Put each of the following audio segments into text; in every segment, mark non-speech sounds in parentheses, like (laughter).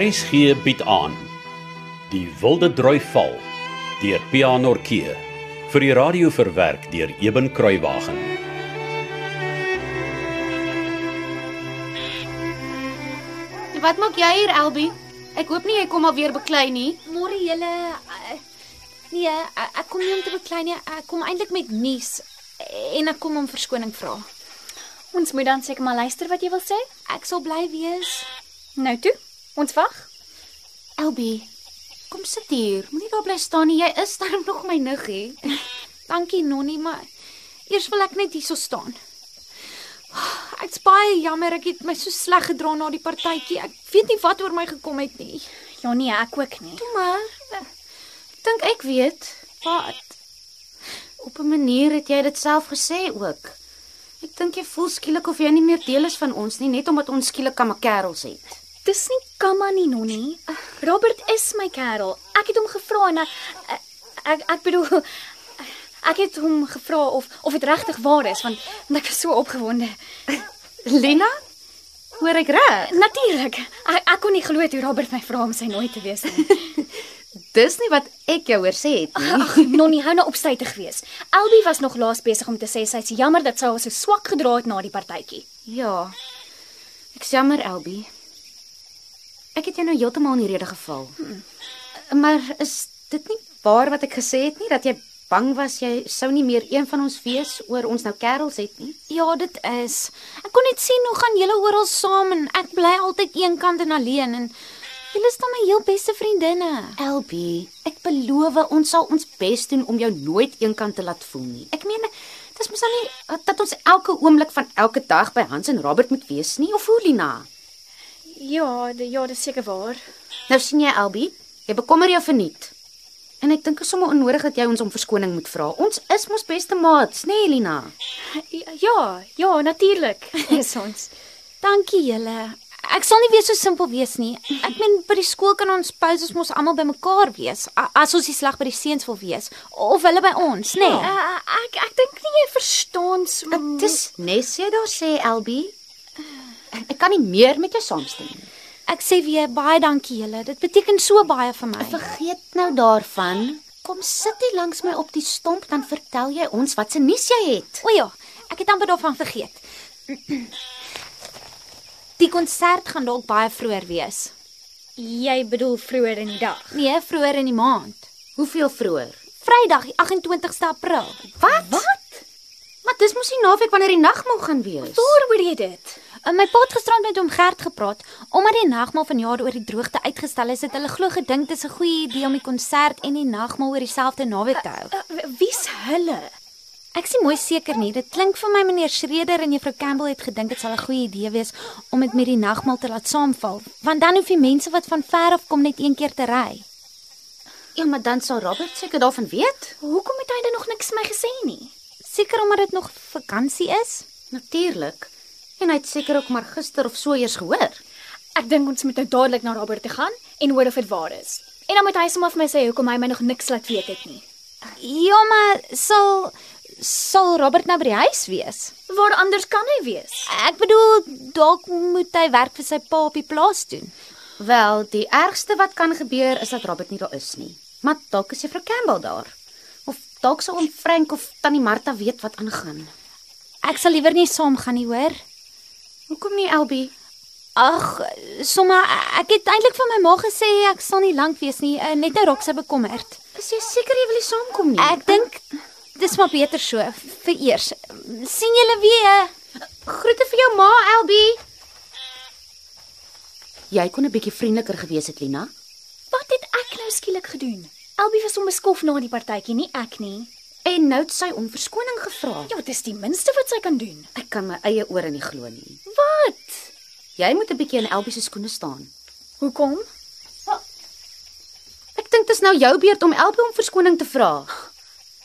RSG bied aan Die Wilde Droi Val deur Pianorkee vir die radio verwerk deur Eben Kruiwagen. Wat maak jy hier, Elbie? Ek hoop nie jy kom alweer beklei nie. Môre julle eh, nee, eh, ek kom nie om te beklei nie. Ek kom eintlik met nuus eh, en ek kom om verskoning vra. Ons moet dan seker maar luister wat jy wil sê. Ek sal bly wees. Nou toe. Ons wag. Elbie, kom sit hier. Moenie daar bly staan nie. Jy is (laughs) darm nog my niggie. Dankie Nonnie, maar eers wil ek net hierso staan. Ek's baie jammer ek het my so sleg gedra na die partytjie. Ek weet nie wat oor my gekom het nie. Ja nee, ek ook nie. Toe maar eh, Ek dink ek weet. wat? Op 'n manier het jy dit self gesê ook. Ek dink jy voel skielik of jy nie meer deel is van ons nie, net omdat ons skielik kamakerels het. Dis nie Kamma nie, Nonnie. Robert is my kerel. Ek het hom gevra en ek ek, ek bedoel ek het hom gevra of of dit regtig waar is want, want ek was so opgewonde. Lena? Hoor ek reg? Natuurlik. Ek, ek kon nie glo toe Robert my vra om sy nooi te wees nie. Dis nie wat ek jou hoor sê het nie. Ag, Nonnie hou nou opstytig wees. Elbie was nog laas besig om te sê sy's jammer dat sy haar so swak gedra het na die partytjie. Ja. Ek is jammer, Elbie. Ek het jou nou heeltemal in die rede geval. Hmm. Maar is dit nie waar wat ek gesê het nie dat jy bang was jy sou nie meer een van ons wees oor ons nou kerels het nie? Ja, dit is. Ek kon net sien hoe gaan julle oral saam en ek bly altyd eenkant en alleen en julle is dan my heel beste vriendinne. Elbie, ek beloof ons sal ons bes doen om jou nooit eenkant te laat voel nie. Ek meen, dis mos dan nie dat ons elke oomblik van elke dag by Hans en Robert moet wees nie of hoe Lina? Ja, ja, dis seker waar. Nou sien jy Elbie, jy bekommer jou verniet. En ek dink is sommer onnodig dat jy ons om verskoning moet vra. Ons is mos beste maats, né, nee, Elina? Eh, Ja, ja, natuurlik. (laughs) Is ons. Dankie julle. Ek sal nie weer so simpel wees nie. Ek meen by die skool kan ons pauses mos almal bymekaar wees a- as ons die slag by die seuns wil wees of hulle by ons, nê? Nee. Uh, ek ek dink nie jy verstaan so. Dis nes jy daar sê Elbie. Ek kan nie meer met jou saamstem nie. Ek sê weer baie dankie julle. Dit beteken so baie vir my. Vergeet nou daarvan. Kom sit hier langs my op die stomp dan vertel jy ons wat se nuus jy het. O ja, ek het amper daarvan vergeet. Die konsert gaan dalk baie vroeër wees. Jy bedoel vroeër in die dag. Nee, vroeër in die maand. Hoeveel vroeër? Vrydag die 28ste April. Wat? Wat? Maar dis mos die naweek wanneer die nagmaal gaan wees. Waar hoor jy dit? En my pa het gisterand met hom Gert gepraat. Omdat die nagmaal vanjaar oor die droogte uitgestel is, het hulle glo gedink dit is 'n goeie idee om die konsert en die nagmaal oor dieselfde naweek te hou. Uh, wie's hulle? Ek is nie mooi seker nie. Dit klink vir my meneer Schreder en juffrou Campbell het gedink dit sal 'n goeie idee wees om dit met die nagmaal te laat saamval, want dan hoef die mense wat van ver af kom net een keer te ry. Ja, maar dan sal Robert seker daarvan weet. Hoekom het hy dan nog niks my gesê nie? Seker omdat dit nog vakansie is. Natuurlik. En hy het seker ook maar gister of so eers gehoor. Ek dink ons moet nou dadelik na Robert toe gaan en hoor of dit waar is. En dan moet hy sommer vir my sê hoekom hy my nog niks laat weet het nie. Ja, maar sal sal Robert nou by die huis wees? Waar anders kan hy wees? Ek bedoel, dalk moet hy werk vir sy pa op die plaas doen. Wel, die ergste wat kan gebeur is dat Robert nie daar is nie. Maar dalk is Juffrou Campbell daar. Of dalk sal oom Frank of tannie Martha weet wat aangaan. Ek sal liewer nie saamgaan nie, hoor. Hoekom nie, Elbie? Ag, sommer ek het eintlik vir my ma gesê ek sal nie lank wees nie, eh, net nou raak sy bekommerd. Is jy seker jy wil nie saamkom nie? Ek dink dis maar beter so vir eers. sien julle weer. groete vir jou ma, Elbie. Jy kon 'n bietjie vriendeliker gewees het, Lina. Wat het ek nou skielik gedoen? Elbie was onbeskof na die partytjie, nie ek nie. En nou het sy om verskoning gevra. Ja, dis die minste wat sy kan doen. Ek kan my eie ore nie glo nie. Wat? Jy moet 'n bietjie in Elbie se skoene staan. Hoekom? Ek dink dis nou jou beurt om Elbie om verskoning te vra.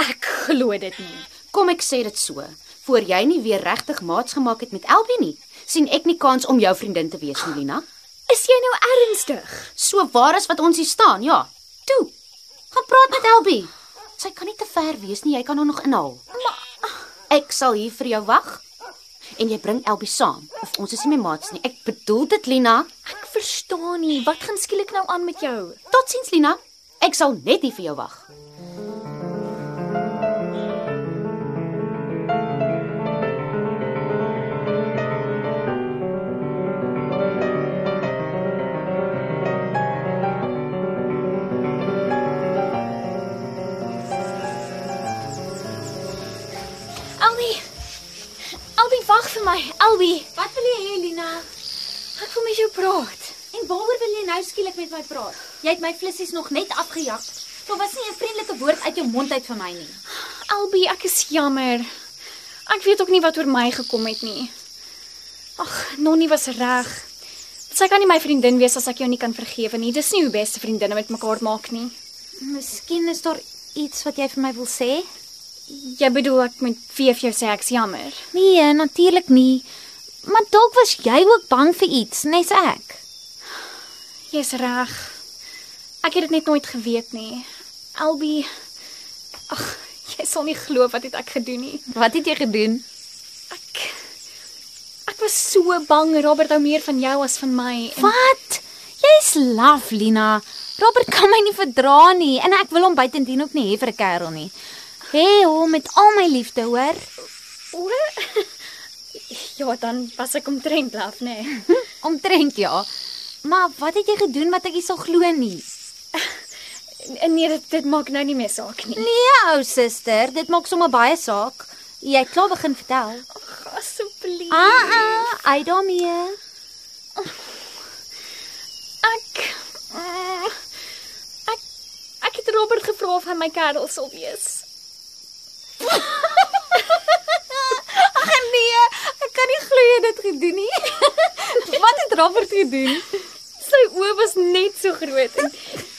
Ek glo dit nie. Kom ek sê dit so, voor jy nie weer regtig maats gemaak het met Elbie nie, sien ek nie kans om jou vriendin te wees nie, Lina. Is jy nou ernstig? So waar is wat ons hier staan, ja. Toe. Gaan praat met Elbie. Sy kan nie te ver wees nie, jy kan haar nog inhaal. Ek sal hier vir jou wag. En jy bring Elbie saam of ons is nie meer maats nie. Ek bedoel dit, Lina. Ek verstaan nie. Wat gaan skielik nou aan met jou? Totsiens Lina. Ek sal net hier vir jou wag. Albie. Albie wag vir my. Albie, Wat wil jy hê, Lina? ek wil met jou praat. En waaroor wil jy nou skielik met my praat? Jy het my flissies nog net afgejag. Daar was nie 'n vriendelike woord uit jou mond uit vir my nie. Albie, ek is jammer. Ek weet ook nie wat oor my gekom het nie. Ag, Nonnie was reg. Sy kan nie my vriendin wees as ek jou nie kan vergewe nie. Dis nie hoe beste vriendinne met mekaar maak nie. Miskien is daar iets wat jy vir my wil sê? Jy bedoel ek moet vir jou sê ek's jammer. Nee, natuurlik nie. Maar dalk was jy ook bang vir iets, nes ek. Jy's reg. Ek het dit net nooit geweet nie. Albie, ag, jy sal nie glo wat het ek gedoen nie. Wat het jy gedoen? Ek ek was so bang Robert hou meer van jou as van my. En, Wat? Jy's laf, Lina. Robert kan my nie verdra nie en ek wil hom buitendien ook nie hê vir 'n kerel nie. Hê hom met al my liefde, hoor? O, (laughs) ja, dan was ek omtrent laf, nê. (laughs) Nee. Omtrent ja. Maar wat het jy gedoen wat ek nie sou glo nie? En nee, dit, dit maak nou nie meer saak nie. Nee, ou suster, dit maak sommer baie saak. Jy het klaar begin vertel. Asseblief. Ah, ah, ai daarmee. Ek mm, ek ek het Robert gevra of hy my kerel sal wees. (laughs) Ag nee, ek kan nie glo jy het dit gedoen nie. (laughs) wat het Robert gedoen? Sy oë was net so groot en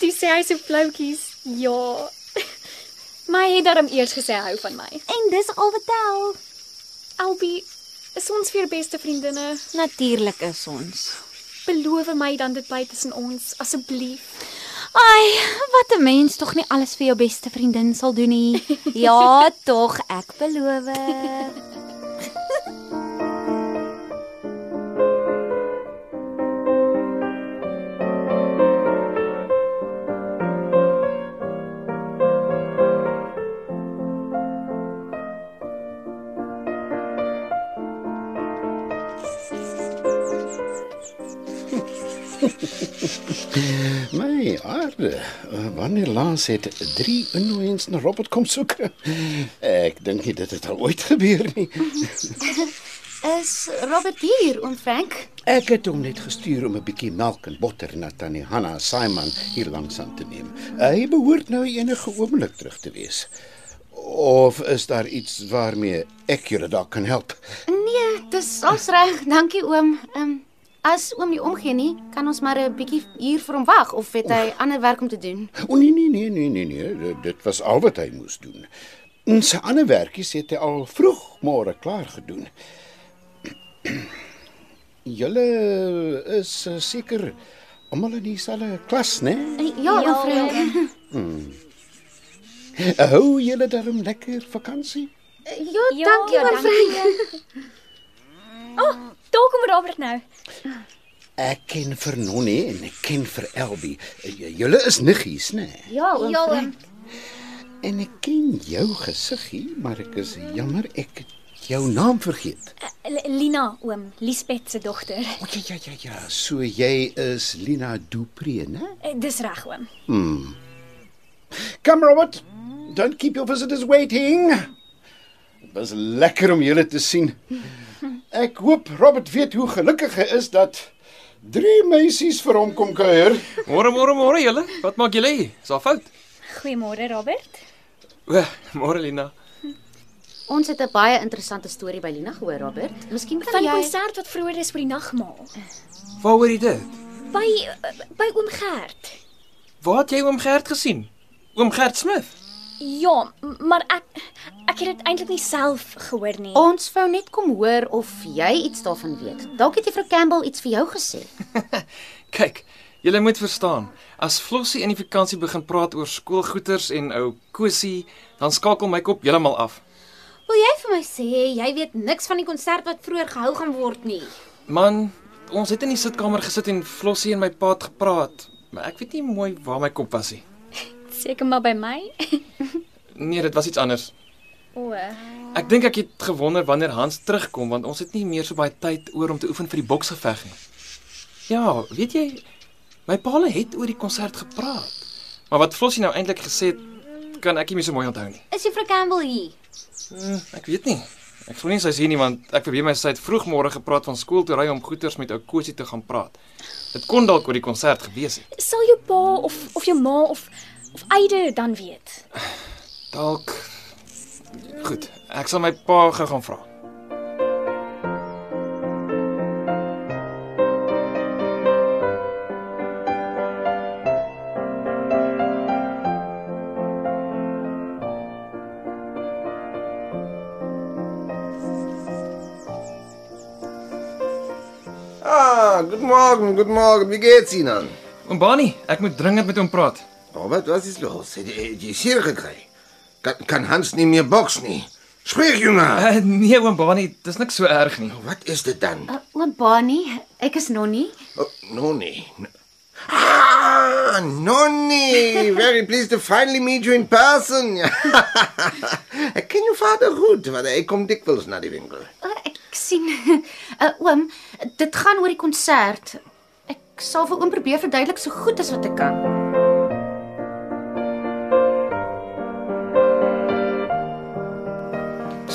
toe sê hy so floutjies, "Ja." (laughs) Maar hy het daarom eers gesê hy hou van my. En dis al wat tel. Albie, is ons weer beste vriendinne? Natuurlik is ons. Beloof my dan dit bly tussen ons, asseblief. Ai, wat 'n mens tog nie alles vir jou beste vriendin sal doen nie. Ja, (laughs) tog, ek beloof. My aarde, wanneer laas het drie inwoners na Robert kom soek? Ek dink nie dit het al ooit gebeur nie. Is Robert hier, oom Frank? Ek het hom net gestuur om 'n bietjie melk en botter na tannie Hanna Simon hier langs aan te neem. Hy behoort nou enige oomblik terug te wees. Of is daar iets waarmee ek julle dalk kan help? Nee, dis ons reg. Dankie oom. Ehm um, as oom nie omgee nie, kan ons maar 'n bietjie hier vir hom wag of het hy ander werk om te doen? O nee nee nee nee nee nee, dit- dit was al wat hy moes doen. En sy ander werkies het hy al vroeg môre klaar gedoen. (clears throat) Julle is eh, seker almal in dieselfde klas, né? Nee? Ja, oom Frank. Hou julle daarom lekker vakansie? Ja, dankie oom Frank. Daar oh, kom Robert nou. Ek ken vir Nonnie en ek ken vir Elbie. J- Julle is niggies, né? Nee? Ja, oom Frank. En ek ken jou gesiggie, maar ek is jammer ek het jou naam vergeet. L Lina oom, Liesbeth se dogter. O ja ja ja ja, so jy is Lina Dupree, né? Nee? Eh, Dis reg oom. Come Robert, don't keep your visitors waiting. Dit was lekker om julle te sien. Ek hoop Robert weet hoe gelukkig hy is dat drie meisies vir hom kom kuier. Môre môre môre julle. Wat maak julle hier? Is daar fout? Goeiemôre Robert. O, môre Lina. Ons het 'n baie interessante storie by Lina gehoor, Robert. Miskien Van kan die jy konsert wat vroeër is vir die nagmaal. Waaroor het dit? By by oom Gert. Waar het jy oom Gert gesien? Oom Gert Smith. Ja, m- maar ek ek het dit eintlik nie self gehoor nie. Ons wou net kom hoor of jy iets daarvan weet. Dalk het juffrou Campbell iets vir jou gesê. Kyk, julle moet verstaan. As Flossie in die vakansie begin praat oor skoolgoeters en ou Kosie, dan skakel my kop heeltemal af. Wil jy vir my sê jy weet niks van die konsert wat vroeër gehou gaan word nie? Man, Ons het in die sitkamer gesit en Flossie en my pa het gepraat, maar ek weet nie mooi waar my kop was nie. Seker maar by my. Nee, dit was iets anders. O. eh, Ek dink ek het gewonder wanneer Hans terugkom want ons het nie meer so baie tyd oor om te oefen vir die boksgeveg nie. Ja, weet jy, my paal het oor die konsert gepraat. Maar wat Flossie nou eintlik gesê het, kan ek nie meer so mooi onthou nie. Is juffrou Campbell hier? Hmm, ek weet nie. Ek glo nie sy is hier nie want ek probeer my sy het vroegmôre gepraat van skool toe ry om goeters met ou Kosie te gaan praat. Dit kon dalk oor die konsert gewees het. Sal jou pa of of jou ma of of Eide dan weet? Dalk Goed, ek sal my pa gou gaan vra. Ah, guten Morgen, guten Morgen. Wie geht's Ihnen? Oom Bani, ek moet dringend met hom praat. Robert, was ist los? Die, die ist hier gekriegt. Kann, kann Hans nicht mehr boxen? nie? Sprich, Junge! Uh, nee, oom Bani, dis niks so erg nie. Was ist das dann? Uh, Oom Bani, ek is Nonnie. Oh, Noni. Ah, Noni! Very pleased to finally meet you in person. (laughs) Ek ken jou vader goed, want hy kom dikwels na die winkel. Uh, ek sien (laughs) uh, oom, dit gaan oor die konsert. Ek sal vir oom probeer verduidelik so goed as wat ek kan.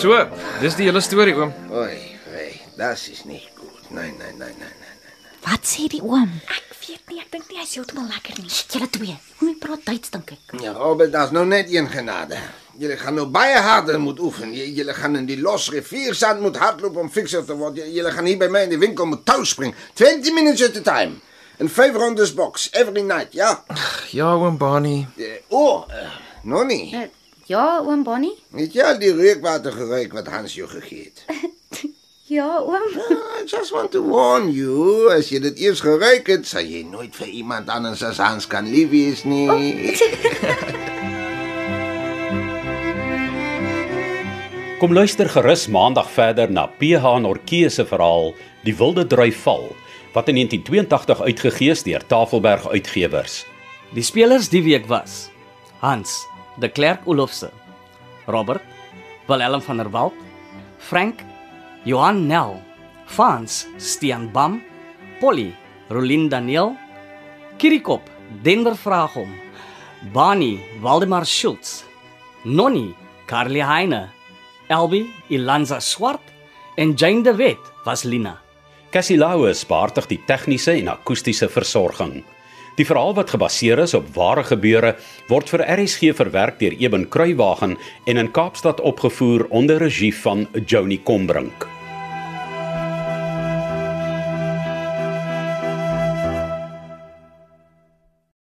So, dis die hele storie oom. Oi, oi, das ist nicht gut. Nein, nein, nein, nein, nein. Wat sê die oom? Ek weet nie, ek dink nie hy's heeltemal lekker nie. Julle twee, hoe praat Duits dink ek? Ja, Robert, dat is nou net één genade. Jullie gaan nou bij harder moeten oefenen. J- Jullie gaan in die los rivierzand moeten hardlopen om fixer te worden. J- Jullie gaan hier bij mij in de winkel moeten touw springen. 20 minutes at a time. En vijf rondes box, every night, ja? Ja, oom Bani. Eh, Oh, eh, Nonnie. Uh, ja, oom Bonnie? Weet je al die reukwatergeruik wat Hans je gegeet? Ja, oom. I just want to warn you. Als je dat eerst geruikt hebt, zal je nooit voor iemand anders als Hans kan lief is, niet? Kom luister gerus maandag verder na PH Nortjie se verhaal Die Wilde Drui Val wat in 1982 uitgegee is deur Tafelberg Uitgewers. Die spelers die week was: Hans, De Klerk Olofse, Robert, Willem van der Walt, Frank, Johan Nel, Frans, Stean Bam, Polly, Rolien Daniel, Kirikop, Dender Vraagom, Bani, Waldemar Schultz, Nonnie, Carly Heine, Elbi, Ilanza Swart en Jane de Wet was Lina. Cassie Lauers beheerdig die tegniese en akoestiese versorging. Die verhaal wat gebaseer is op ware gebeure word vir RSG verwerk deur Eben Kruiwagen en in Kaapstad opgevoer onder regie van Joni Combrink.